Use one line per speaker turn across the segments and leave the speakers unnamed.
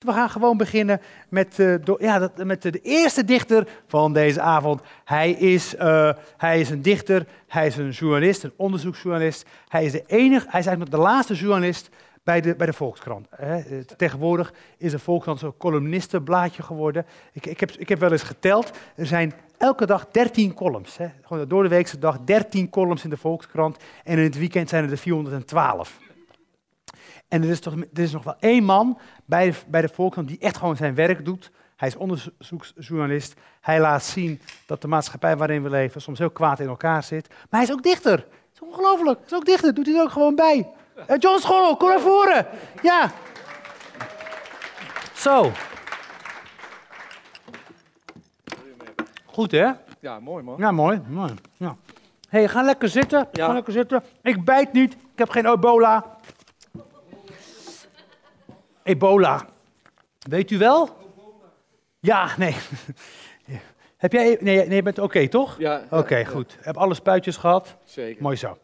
We gaan gewoon beginnen met, eh, do- ja, dat, met de eerste dichter van deze avond. Hij is, eh, hij is een dichter, hij is een journalist, een onderzoeksjournalist. Hij is de enige, hij is eigenlijk nog de laatste journalist bij de, bij de Volkskrant. hè. Eh, Tegenwoordig is de Volkskrant zo'n columnistenblaadje geworden. Ik, ik, heb, ik heb wel eens geteld, er zijn elke dag 13 columns. Hè. Gewoon door de weekse dag 13 columns in de Volkskrant. En in het weekend zijn er er 412. En er is, toch, er is nog wel één man bij de, bij de Volkskrant die echt gewoon zijn werk doet. Hij is onderzoeksjournalist. Hij laat zien dat de maatschappij waarin we leven soms heel kwaad in elkaar zit. Maar hij is ook dichter. Dat is ongelooflijk. Hij is ook dichter. Doet hij er ook gewoon bij. Eh, John Schorrel, kom naar voren. Ja. Zo. Goed, hè?
Ja, mooi man.
Ja, mooi. mooi. Ja. hey, ga lekker zitten.
Ja.
Ga lekker zitten. Ik bijt niet. Ik heb geen ebola. Ebola. Weet u wel? Ja, nee. Ja. Heb jij... Nee, nee je bent oké, toch?
Ja,
Oké, goed. Heb alle spuitjes gehad?
zeker.
Mooi zo.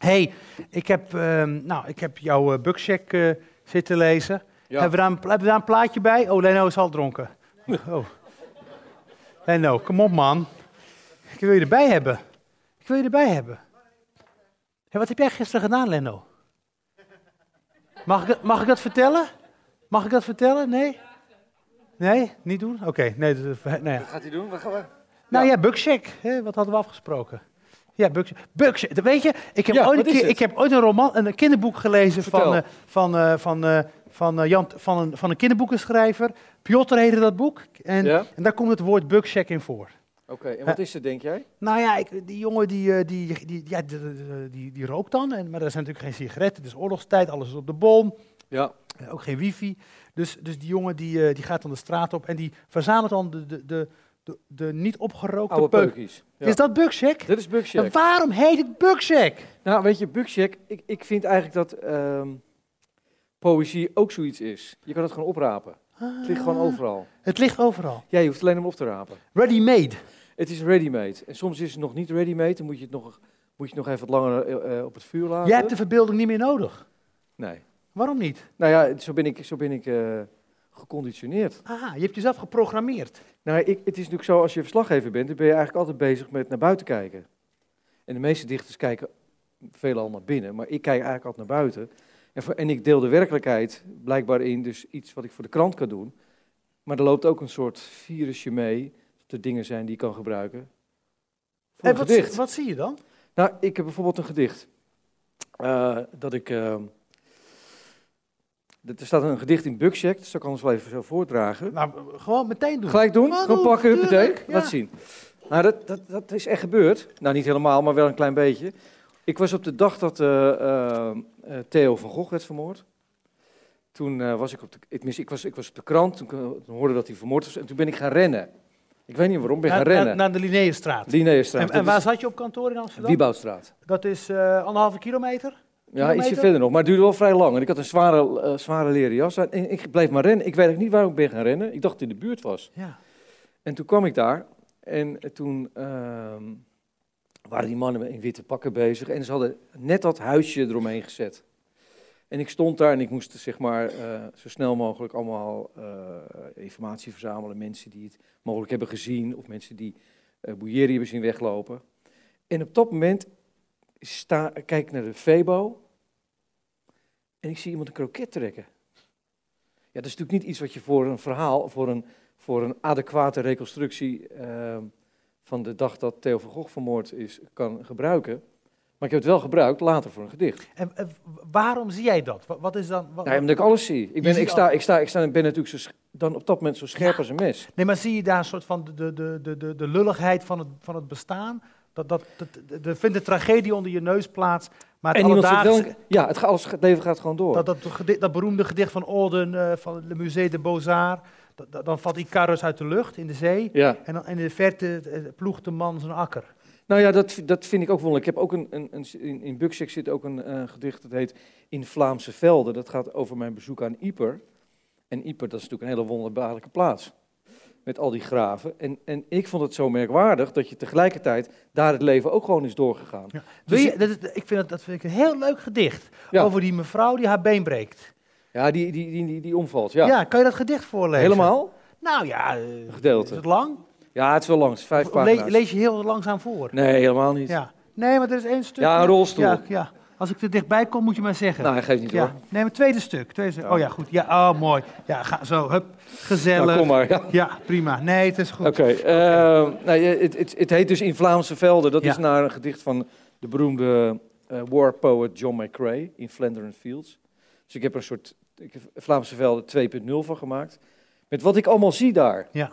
hey, ik heb, ehm, nou, ik heb jouw eh, bugcheck eh, zitten lezen.
Ja.
Hebben, we daar een, hebben we daar een plaatje bij? Oh, Leno is al dronken. Oh. Leno, kom op man. Ik wil je erbij hebben. Ik wil je erbij hebben. Hé, wat heb jij gisteren gedaan, Leno? Mag ik, dat- mag ik dat vertellen? Mag ik dat vertellen? Nee? Nee? Niet doen? Oké, nee. dat- nee ja.
Wat gaat hij doen? Wat gaan we...
Nou ja, Buckshake. Hè? Wat hadden we afgesproken? Ja, Buckshake. Buckshake. Weet je, ik heb,
Ja,
ooit, een
wat is
keer,
het?
ik heb ooit een roman, een kinderboek gelezen van,
Vertel.
eh, van, eh, van, eh, van, eh, Jan, van, een, van een kinderboekenschrijver. Piotr heette dat boek. En,
Ja.
en daar komt het woord Buckshake in voor.
Oké, en wat is het denk jij?
Nou ja, ik, die jongen die, eh, die, die, ja, die, die, die, die rookt dan, en, maar er zijn natuurlijk geen sigaretten, het is oorlogstijd, alles is op de bom.
Ja.
Eh, ook geen wifi. Dus, dus die jongen die, eh, die gaat dan de straat op en die verzamelt dan de, de, de, de, de niet opgerookte
Oude
peuk.
peukies. Ja.
Is dat Buckshake?
Dit is
Maar
Bugshack.
waarom heet het Buckshake?
Nou, weet je, Bugshack, ik, ik vind eigenlijk dat ehm, poëzie ook zoiets is. Je kan het gewoon oprapen. Het ligt
Ah.
gewoon overal.
Het ligt overal.
Ja, je hoeft alleen om op te rapen.
Ready made.
Het is ready-made. En soms is het nog niet ready-made, dan moet je het nog, moet je het nog even wat langer eh, eh, op het vuur laten.
Jij hebt de verbeelding niet meer nodig.
Nee.
Waarom niet?
Nou ja, zo ben ik, zo ben ik eh, geconditioneerd.
Ah, je hebt jezelf geprogrammeerd.
Nou, ik, het is natuurlijk zo, als je verslaggever bent, dan ben je eigenlijk altijd bezig met naar buiten kijken. En de meeste dichters kijken veelal naar binnen, maar ik kijk eigenlijk altijd naar buiten. En, voor- en ik deel de werkelijkheid blijkbaar in, dus iets wat ik voor de krant kan doen. Maar er loopt ook een soort virusje mee, dat er dingen zijn die ik kan gebruiken. Voor
En
een
wat,
gedicht.
wat zie je dan?
Nou, ik heb bijvoorbeeld een gedicht. eh, dat ik. ehm, dat- er staat een gedicht in Buckcheck, dat zal ik anders wel even zo voordragen.
Nou, gewoon meteen doen.
Gelijk doen,
Maar
gewoon
goed,
pakken,
tuurlijk,
huppatee,
ja.
laat zien. Nou, dat, dat, dat is echt gebeurd. Nou, niet helemaal, maar wel een klein beetje. Ik was op de dag dat eh, eh, eh, Theo van Gogh werd vermoord. Toen eh, was ik op de, ik, mis, ik, was, ik was op de krant, toen, kon- toen hoorde dat hij vermoord was. En toen ben ik gaan rennen. Ik weet niet waarom, ben ik
naar,
gaan
naar-
rennen.
naar de Linnaeusstraat.
Linnaeusstraat,
En, en waar zat je op kantoor in Amsterdam?
Wieboudstraat.
Dat is eh, anderhalve kilometer.
Ja, ietsje
Kilometer?
verder nog, maar het duurde wel vrij lang. En ik had een zware, eh, zware leren jas aan en ik bleef maar rennen. Ik weet ook niet waarom ik ben gaan rennen. Ik dacht dat het in de buurt was.
Ja.
En toen kwam ik daar en toen ehm, waren die mannen in witte pakken bezig en ze hadden net dat huisje eromheen gezet. En ik stond daar en ik moest zeg maar eh, zo snel mogelijk allemaal eh, informatie verzamelen. Mensen die het mogelijk hebben gezien of mensen die eh Boeieri hebben zien weglopen. En op dat moment sta, kijk ik naar de Febo en ik zie iemand een kroket trekken. Ja, dat is natuurlijk niet iets wat je voor een verhaal, voor een voor een adequate reconstructie ehm, van de dag dat Theo van Gogh vermoord is, kan gebruiken. Maar ik heb het wel gebruikt later voor een gedicht.
En, en waarom zie jij dat? Wat, wat is dan... wat-
Nee, omdat ik alles zie. Ik, ben,
ziet
ik, sta, ik, sta, ik sta, ben natuurlijk zo sch- dan op dat moment zo scherp als een mes.
Nee, maar zie je daar een soort van de, de, de, de, de lulligheid van het, van het bestaan? Dat, dat, dat, de- de- vindt de tragedie onder je neus plaats, maar het
En iemand zit wel...
alledaagse...
in- Ja, het, ga- alles, het leven gaat gewoon door.
Dat, dat, gedi- dat beroemde gedicht van Olden eh, van het Musée de Beaux-Arts. Dat- dat- Dan valt Icarus uit de lucht in de zee.
Ja.
En dan in de verte eh, ploegt de man zijn akker.
Nou ja, dat, dat vind ik ook wonderlijk. Ik heb ook een, een, een in, in Buksek zit ook een eh, gedicht dat heet In Vlaamse Velden. Dat gaat over mijn bezoek aan Ieper. En Ieper, dat is natuurlijk een hele wonderbaarlijke plaats. Met al die graven. En, en ik vond het zo merkwaardig dat je tegelijkertijd daar het leven ook gewoon is doorgegaan.
Wil
Dus
je, dat, is- ik vind dat, dat vind ik een heel leuk gedicht.
Ja.
Over die mevrouw die haar been breekt.
Ja, die, die, die, die, die omvalt.
Ja.
Ja,
kan je dat gedicht voorlezen?
helemaal.
Nou ja, eh,
Gedeelte.
is het lang?
Ja, het is wel lang. Het is vijf
Of le-
pagina's.
lees je heel langzaam voor?
Nee, helemaal niet.
Ja. Nee, maar er is één stuk.
Ja, een rolstoel.
Ja, ja. Als ik er dichtbij kom, moet je maar zeggen.
Nou, geeft niet
ja.
hoor.
Nee, maar tweede stuk. Tweede stuk. Oh ja, goed. Ja, oh mooi. Ja, ga zo. Hup. Gezellig.
Nou, kom maar. Ja.
Ja, prima. Nee, het is goed.
Oké. eh, nou, ja, het, het, het heet dus In Vlaamse Velden. Dat
Ja.
is naar een gedicht van de beroemde eh, war poet John McCrae in Flandern Fields. Dus ik heb er een soort ik heb Vlaamse Velden 2.0 van gemaakt. Met wat ik allemaal zie daar.
Ja.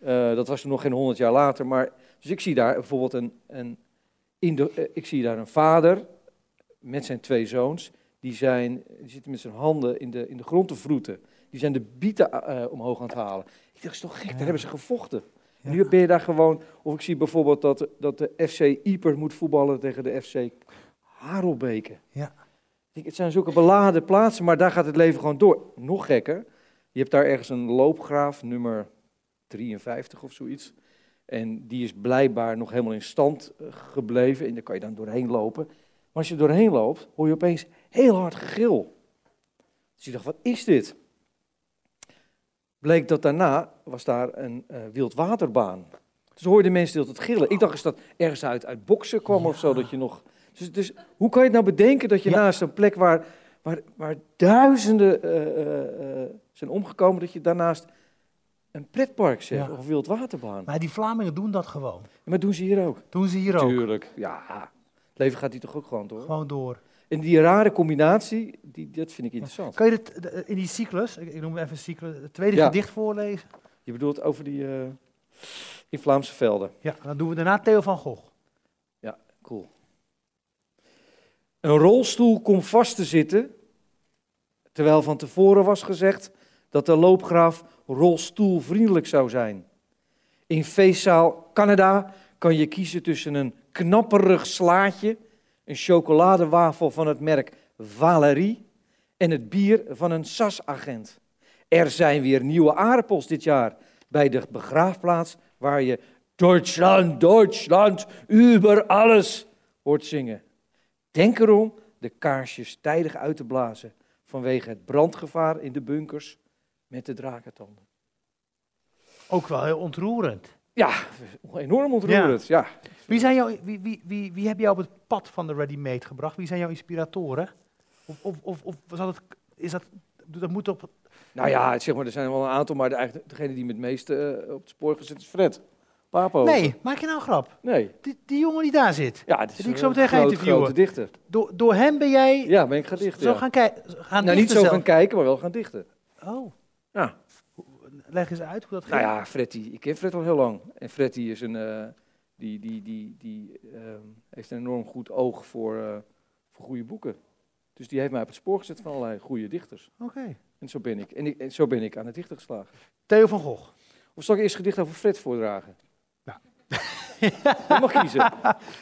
Eh, dat was toen nog geen honderd jaar later. Maar, dus ik zie daar bijvoorbeeld een, een, Indo- eh, ik zie daar een vader met zijn twee zoons. Die, zijn, die zitten met zijn handen in de, in de grond te vroeten. Die zijn de bieten eh, omhoog aan het halen. Ik dacht, is toch gek, daar hebben ze gevochten. En Nu ben je daar gewoon... Of ik zie bijvoorbeeld dat, dat de FC Ieper moet voetballen tegen de FC Harelbeke.
Ja.
Ik denk, Het zijn zulke beladen plaatsen, maar daar gaat het leven gewoon door. Nog gekker, je hebt daar ergens een loopgraaf, nummer 53 of zoiets. En die is blijkbaar nog helemaal in stand eh, gebleven. En daar kan je dan doorheen lopen. Maar als je doorheen loopt, hoor je opeens heel hard gegil. Dus je dacht, wat is dit? Bleek dat daarna was daar een eh, wildwaterbaan. Dus hoorden mensen de hele tijd gillen. Ik dacht eens dat ergens uit, uit boksen kwam of zo. Dat je nog... dus, dus hoe kan je het nou bedenken dat je
Ja.
naast een plek waar, waar, waar duizenden eh, eh, eh, zijn omgekomen... dat je daarnaast een pretpark zegt
Ja.
of een wildwaterbaan.
Maar die Vlamingen doen dat gewoon.
Maar doen ze hier ook.
Doen ze hier ook.
Tuurlijk, ja. Het leven gaat hier toch ook gewoon door.
Gewoon door.
En die rare combinatie, die, dat vind ik interessant.
Kan je dit, de- in die cyclus, ik ik noem even cyclus, het tweede
Ja.
gedicht voorlezen?
Je bedoelt over die eh, in Vlaamse velden.
Ja, dan doen we daarna Theo van Gogh.
Cool. Een rolstoel komt vast te zitten, terwijl van tevoren was gezegd dat de loopgraaf rolstoelvriendelijk zou zijn. In feestzaal Canada kan je kiezen tussen een knapperig slaatje, een chocoladewafel van het merk Valerie en het bier van een SAS-agent. Er zijn weer nieuwe aardappels dit jaar bij de begraafplaats waar je Duitsland, Duitsland, über alles hoort zingen. Denk erom de kaarsjes tijdig uit te blazen vanwege het brandgevaar in de bunkers met de drakentanden.
Ook wel heel ontroerend.
Ja, enorm ontroerend. Ja.
Wie, zijn jou, wie, wie, wie, wie heb jij op het pad van de ready-made gebracht? Wie zijn jouw inspiratoren? Of, of, of, of was dat, het- is dat, dat moet op...
Nou ja, het- zeg maar, er zijn wel een aantal, maar de, eigenlijk degene die me het meeste eh, op het spoor gezet is Fred. Papo.
Nee, maak je nou een grap.
Nee.
Die, die jongen die daar zit.
Ja, het is
Die ik
een
zo meteen ga
groot,
interviewen.
grote dichter.
Door, door hem ben jij
Ja, ben ik gaan dichten.
zo
ja.
gaan kijken. Gaan
nou, niet zo
dichten
gaan
zelf.
kijken, maar wel gaan dichten.
Oh,
Ja.
leg eens uit hoe dat
Nou
gaat.
ja, Fred, die- ik ken Fred al heel lang. En Fred die is een, eh, die, die, die, die ehm, heeft een enorm goed oog voor, eh, voor goede boeken. Dus die heeft mij op het spoor gezet van allerlei goede dichters.
Oké.
En zo ben ik. En, ik, en zo ben ik aan het dichten geslagen.
Theo van Gogh.
Of zal ik eerst gedicht over Fred voordragen?
Ja.
Je mag kiezen.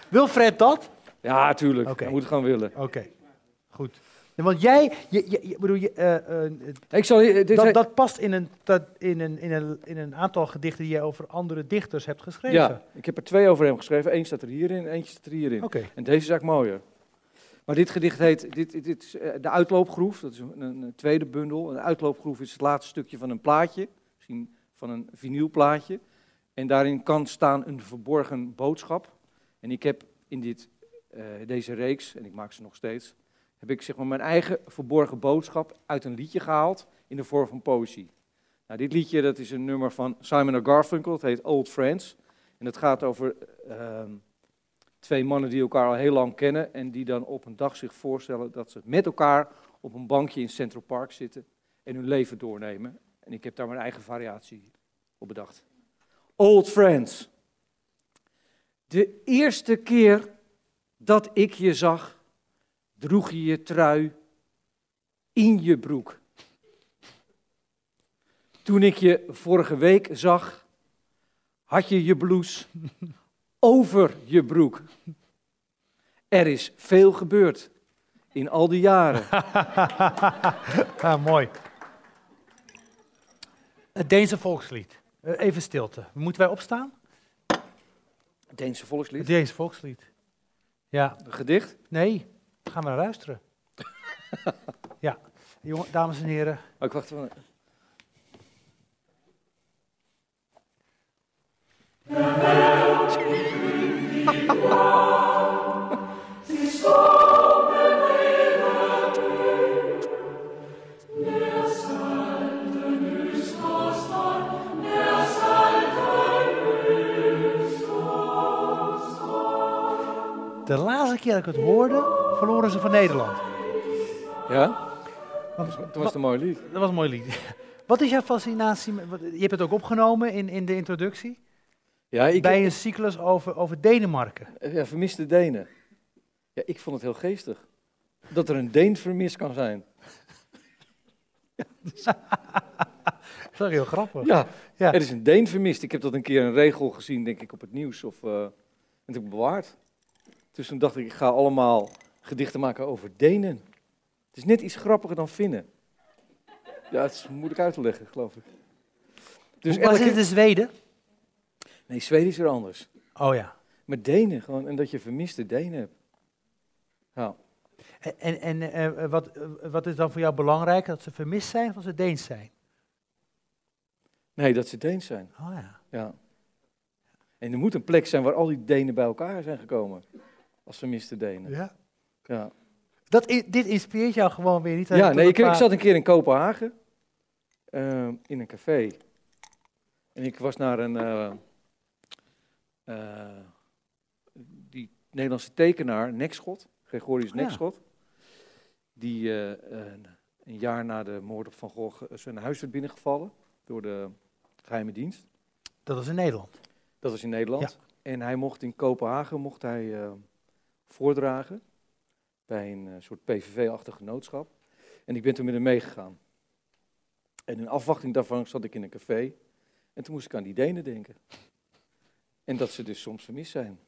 Wil Fred dat?
Ja, tuurlijk.
Oké.
Hij moet het gaan willen.
Oké, goed. Nee, Want jij, je, je, je- bedoel, je, eh, eh,
Ik zal, eh, dit zijn-
dat, dat past in een, dat, in, een, in, een, in een aantal gedichten die jij over andere dichters hebt geschreven.
ja, ik heb er twee over hem geschreven. Eén staat er hierin, eentje staat er hierin.
Oké.
En deze is eigenlijk mooier. Maar dit gedicht heet dit, dit, dit is, eh, De Uitloopgroef. Dat is een, een- een tweede bundel. Een uitloopgroef is het laatste stukje van een plaatje. Misschien van een vinylplaatje. En daarin kan staan een verborgen boodschap. En ik heb in dit, eh, deze reeks, en ik maak ze nog steeds, heb ik zeg maar mijn eigen verborgen boodschap uit een liedje gehaald in de vorm van poëzie. Nou, dit liedje dat is een nummer van Simon Garfunkel, het heet Old Friends. En dat gaat over ehm, twee mannen die elkaar al heel lang kennen en die dan op een dag zich voorstellen dat ze met elkaar op een bankje in Central Park zitten en hun leven doornemen. En ik heb daar mijn eigen variatie op bedacht. Old friends. De eerste keer dat ik je zag, droeg je je trui in je broek. Toen ik je vorige week zag, had je je blouse over je broek. Er is veel gebeurd in al die jaren.
Ah, mooi. Het Deense volkslied. Eh, Even stilte. Moeten wij opstaan?
Het Deense volkslied.
Het Deense volkslied. Ja,
Een gedicht.
nee. Gaan we naar luisteren. ja. Jongen, dames en heren,
Oh, ik wacht even.
de laatste keer dat ik het hoorde, verloren ze van Nederland.
Ja?
Want-
Toen was het een mooi lied.
Dat was een mooi lied. Wat is jouw fascinatie? met- wat- Je hebt het ook opgenomen in, in de introductie.
Ja, ik
bij een cyclus over, over Denemarken.
eh, ja, vermiste Denen. Ja, ik vond het heel geestig. Dat er een Deen vermist kan zijn.
Dat is wel heel grappig.
Ja,
Ja.
er is een Deen vermist. Ik heb dat een keer een regel gezien, denk ik, op het nieuws. Of, eh, en toen heb ik bewaard. Dus toen dacht ik, ik ga allemaal gedichten maken over Denen. Het is net iets grappiger dan Finnen. Ja, het is moeilijk uit te leggen, geloof ik. Dus
Dus was
elke...
dit in Zweden?
Nee, Zweden is weer anders.
Oh ja.
Maar Denen gewoon, en dat je vermiste Denen hebt. Ja.
En, en, en eh, wat, eh, wat is dan voor jou belangrijk? Dat ze vermist zijn of dat ze Deens zijn?
Nee, dat ze Deens zijn.
Oh ja.
Ja. En er moet een plek zijn waar al die Denen bij elkaar zijn gekomen. Als vermiste Denen.
ja.
Ja,
Dat, i- dit inspireert jou gewoon weer niet.
ja nee, ik, ik zat een keer in Kopenhagen. eh, in een café. En ik was naar een... eh, eh, die Nederlandse tekenaar, Nekschot. Gregorius
Oh ja.
Nekschot. Die eh, een, een jaar na de moord op Van Gogh eh, zijn huis werd binnengevallen. Door de geheime dienst.
Dat was in Nederland.
Dat was in Nederland. En hij mocht in Kopenhagen mocht hij, eh, voordragen bij een eh, soort PVV-achtig genootschap. En ik ben toen met hem meegegaan. En in afwachting daarvan zat ik in een café. En toen moest ik aan die Denen denken. En dat ze dus soms vermist zijn.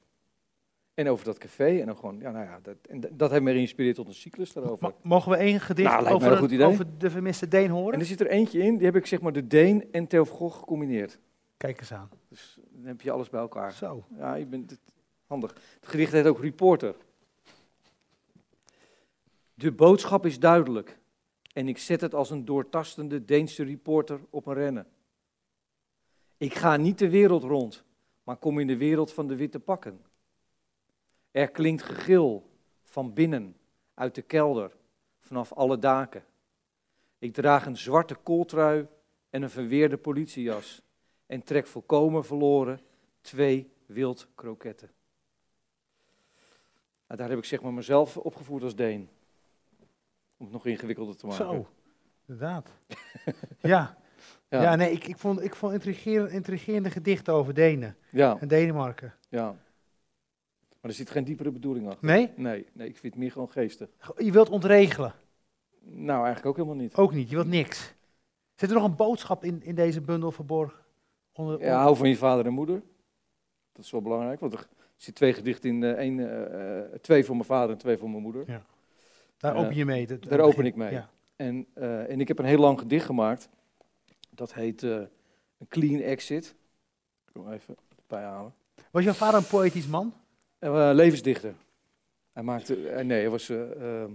En over dat café. En dan gewoon, ja, nou ja, dat, en d- dat heeft me geïnspireerd tot een cyclus daarover.
Ma- mogen we één gedicht
Nou, lijkt me
over,
een goed idee.
over de vermiste Deen horen?
En er zit er eentje in, die heb ik zeg maar de Deen en Theo van Gogh gecombineerd.
Kijk eens aan.
Dus dan heb je alles bij elkaar.
Zo.
Ja, je bent het, handig. Het gedicht heet ook Reporter. De boodschap is duidelijk en ik zet het als een doortastende Deense reporter op een rennen. Ik ga niet de wereld rond, maar kom in de wereld van de witte pakken. Er klinkt gegil van binnen, uit de kelder, vanaf alle daken. Ik draag een zwarte kooltrui en een verweerde politiejas en trek volkomen verloren twee wild kroketten. Nou, daar heb ik zeg maar mezelf opgevoerd als Deen. Om het nog ingewikkelder te maken.
Zo. Inderdaad. ja.
Ja.
Ja. nee, ik, ik vond, ik vond intrigerend, intrigerende gedichten over Denen
Ja,
en Denemarken.
ja. Maar er zit geen diepere bedoeling achter.
Nee?
Nee, nee, ik vind het meer gewoon geestig.
Je wilt ontregelen.
Nou, eigenlijk ook helemaal niet.
Ook niet, je wilt niks. Zit er nog een boodschap in, in deze bundel verborgen? Onder,
Ja, hou van je vader en moeder. Dat is wel belangrijk, want er zit twee gedichten in. eh, één, eh, eh, twee voor mijn vader en twee voor mijn moeder.
daar
eh,
open je mee. dat-
daar
dat-
open ik mee.
Ja.
En, eh, en ik heb een heel lang gedicht gemaakt. Dat heet eh, een Clean Exit. Ik wil hem even erbij halen.
Was jouw vader een poëtisch man?
Eh, levensdichter. Hij maakte, eh, nee, hij was eh, ehm,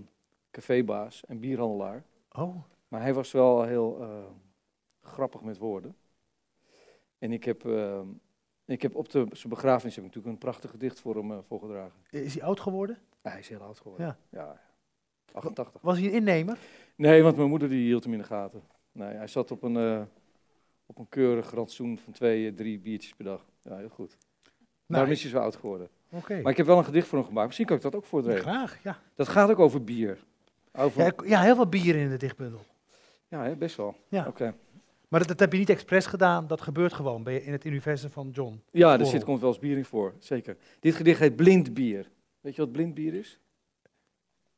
cafébaas en bierhandelaar.
Oh,
Maar hij was wel heel eh, grappig met woorden. En ik heb, ehm, ik heb op de, zijn begrafenis heb ik natuurlijk een prachtig gedicht voor hem eh, voorgedragen.
is hij oud geworden?
Ja, hij is heel oud geworden. Ja. 88.
Was hij een innemer?
Nee, want mijn moeder die hield hem in de gaten. Nee, hij zat op een, eh, op een keurig rantsoen van twee, eh, drie biertjes per dag. Ja, heel goed. Daarom is hij zo oud geworden.
Oké,
Maar ik heb wel een gedicht voor hem gemaakt. Misschien kan ik dat ook voordragen.
graag, ja.
Dat gaat ook over bier. Over...
ja.
Ja,
ik- Ja, heel veel bier in de dichtbundel.
hè, best wel.
Ja.
Oké.
Maar dat, dat heb je niet expres gedaan, dat gebeurt gewoon bij, in het universum van John.
ja er
Borrel.
zit, komt wel eens bier in voor, zeker. Dit gedicht heet Blind Bier. Weet je wat blind bier is?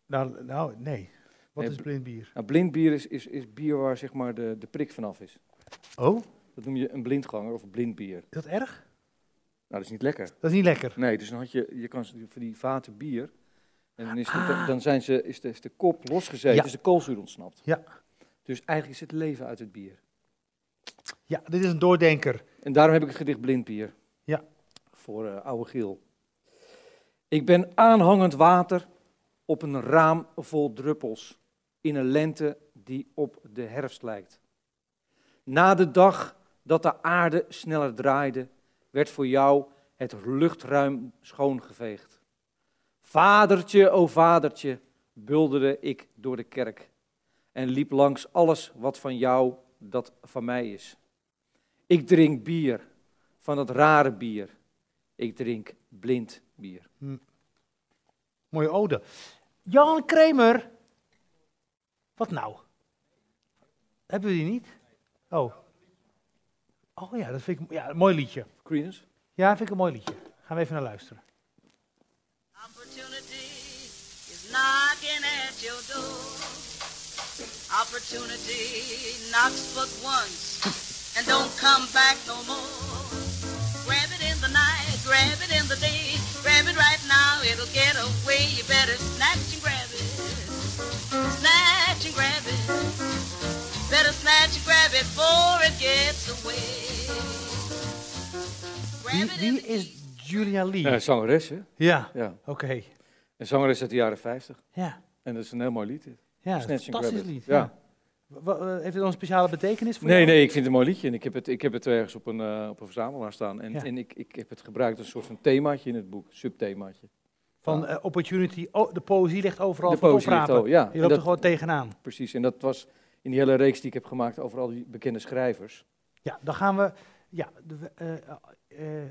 Nou, nou nee. Wat
Nee,
is
bl-
blind bier?
Nou, blind bier is, is, is bier waar zeg maar, de, de prik vanaf is.
Oh, is
Dat noem je een blindganger of een blind bier. Nou,
dat erg?
dat is niet lekker.
Dat is niet lekker.
Nee, dus dan had je, je kan ze- van die vaten bier. En dan, is de,
Ah.
dan zijn ze, is, de, is de kop losgezeten,
Ja.
is de koolzuur ontsnapt.
Ja.
Dus eigenlijk is het leven uit het bier.
Ja, dit is een doordenker.
En daarom heb ik het gedicht Blindbier.
Ja.
Voor eh Oude Giel. Ik ben aanhangend water op een raam vol druppels in een lente die op de herfst lijkt. Na de dag dat de aarde sneller draaide, werd voor jou het luchtruim schoongeveegd. Vadertje, o vadertje, bulderde ik door de kerk en liep langs alles wat van jou dat van mij is. Ik drink bier, van dat rare bier. Ik drink blind bier.
Mooie ode. Jan Kramer. Wat nou? Hebben we die niet? Oh. Oh ja, dat vind ik ja, een mooi liedje.
Credence?
Ja, vind ik een mooi liedje. Gaan we even naar luisteren.
Opportunity is knocking at your door. Opportunity knocks but once and don't come back no more. Grab it in the night, grab it in the day, grab it right now, it'll get away. You better snatch and grab it. Snatch and grab it. Better snatch and grab it before it gets away. Grab
Wie,
it in
wie
the
is Julia Lee?
Ja, zangeres, hè?
Ja,
Ja.
oké.
Een zangeres uit de jaren 50.
Ja,
En dat is een heel mooi lied. dit.
ja dat
Snatch
is
and
een fantastisch
grab it.
lied.
Ja.
ja. Wa- wa- eh, Heeft het dan een speciale betekenis voor
Nee,
jou?
nee, ik vind het een mooi liedje. En ik heb het, ik heb het ergens op een, eh, op een verzamelaar staan. En,
Ja.
en ik, ik heb het gebruikt als een soort van themaatje in het boek, subthemaatje.
Van eh, opportunity. Oh, de poëzie ligt overal
De
voor
poëzie ligt
oprapen.
al, ja.
Je
En
loopt
dat-
er gewoon tegenaan.
Precies. En dat was in die hele reeks die ik heb gemaakt over al die bekende schrijvers.
Ja, dan gaan we. Ja, de, eh, eh, eh, eh,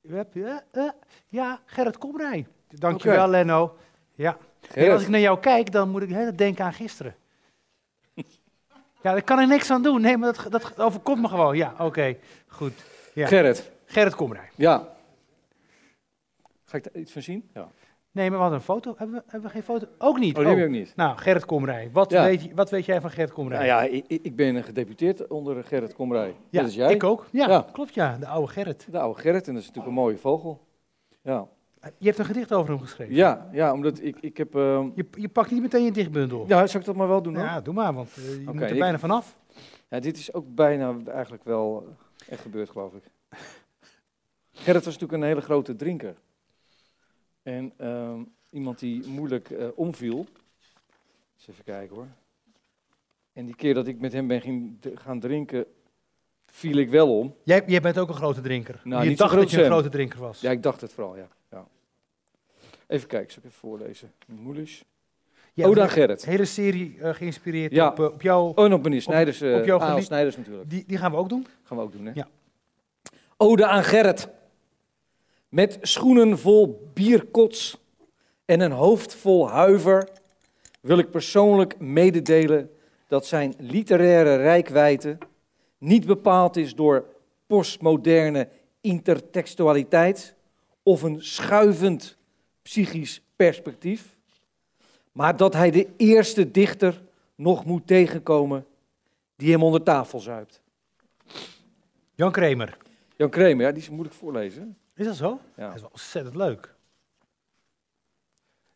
we hebben- eh, eh, ja Gerrit Komrij. Dankjewel,
Oké.
Leno. Ja. Hey, als ik naar jou kijk, dan moet ik de hele tijd denken aan gisteren. ja, daar kan ik niks aan doen. Nee, maar dat, dat overkomt me gewoon. Ja, oké. Goed. ja.
Gerrit.
Gerrit Komrij.
Ja. Ga ik daar iets van zien? Ja.
Nee, maar we hadden een foto. Hebben we, hebben we geen foto? Ook niet.
Oh, die heb
Oh.
ik ook niet.
Nou, Gerrit Komrij. Wat,
Ja.
weet, je- wat weet jij van Gerrit Komrij?
Nou ja, ik, ik ik ben gedeputeerd onder Gerrit Komrij.
Ja,
dat is jij.
ik ook. Ja,
Ja.
klopt ja. De oude Gerrit.
De oude Nou, Gerrit, en dat is natuurlijk een mooie vogel. Ja,
Je hebt een gedicht over hem geschreven.
ja, ja omdat ik, ik heb... ehm
Je, je pakt niet meteen je dichtbundel op.
Ja, zou ik dat maar wel doen? hoor?
Ja, doe maar, want eh, je moet er
ik-
bijna vanaf.
Ja, dit is ook bijna eigenlijk wel eh, echt gebeurd, geloof ik. Gerrit was natuurlijk een hele grote drinker. En ehm, iemand die moeilijk eh, omviel. Eens even kijken hoor. En die keer dat ik met hem ben ging- gaan drinken, viel ik wel om.
Jij, jij bent ook een grote drinker.
Nou,
je
niet zo
dacht
groot,
dat je een
Sam.
grote drinker was.
Ja, ik dacht het vooral, ja. ja. Even kijken, zal ik even voorlezen. Moelisch.
Ja,
Oda
een
Gerrit.
hele serie eh, geïnspireerd
Ja.
op, eh, op jou.
Oh, en op meneer Snijders. eh
op jouw
Aal
gelie-
Snijders natuurlijk.
Die, die gaan we ook doen.
Gaan we ook doen, hè?
Ja.
Ode aan Gerrit. Met schoenen vol bierkots en een hoofd vol huiver wil ik persoonlijk mededelen dat zijn literaire rijkwijde niet bepaald is door postmoderne intertextualiteit of een schuivend psychisch perspectief, maar dat hij de eerste dichter nog moet tegenkomen die hem onder tafel zuipt.
Jan Kramer.
Jan Kramer, ja, die is moeilijk voorlezen.
Is dat zo?
Ja.
Dat is wel ontzettend leuk.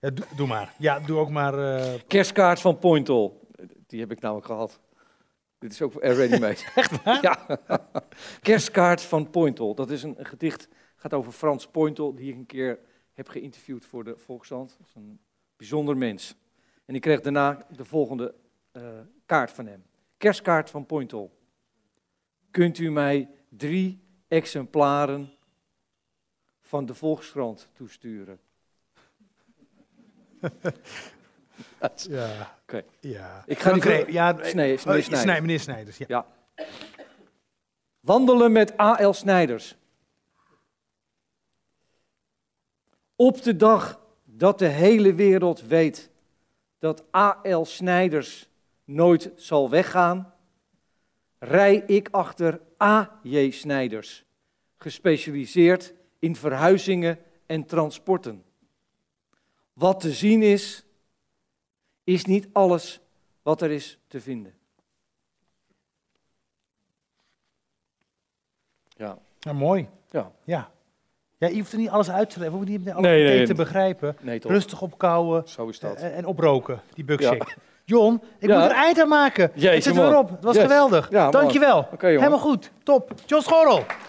Ja, doe, doe maar. Ja, doe ook maar. eh,
Kerstkaart van Pointel. Die heb ik namelijk gehad. Dit is ook voor ready made. Echt waar? Ja. Kerstkaart van Pointel. Dat is een een gedicht, gaat over Frans Pointel, die ik een keer heb geïnterviewd voor de Volkskrant. Dat is een bijzonder mens. En ik kreeg daarna de volgende eh, kaart van hem. Kerstkaart van Pointel. Kunt u mij drie exemplaren van de Volkskrant toesturen? Dat is-
ja.
Oké.
ja.
Ik ga die
Jan Kra-
voor-
ja, eh,
Snij, snij,
eh,
snij.
Snij, meneer Snijders. Ja.
Wandelen met A.L. Snijders. Op de dag dat de hele wereld weet dat A.L. Snijders nooit zal weggaan, rij ik achter A.J. Snijders, gespecialiseerd in verhuizingen en transporten. Wat te zien is, is niet alles wat er is te vinden. Ja.
Nou, mooi.
Ja.
ja. Ja, je hoeft er niet alles uit te leggen. We hoeven niet meteen
Nee,
alles meteen
nee.
te begrijpen.
Nee, toch?
Rustig opkouwen.
Zo is
Eh, En, oproken, die
Ja.
bugshake. John, ik
Ja.
moet er eind aan maken.
Jeetje,
het zit
man.
weer op. Het was
Yes.
geweldig.
Ja, man.
Dankjewel.
Oké, jongen.
Helemaal goed. Top. John Schorrel.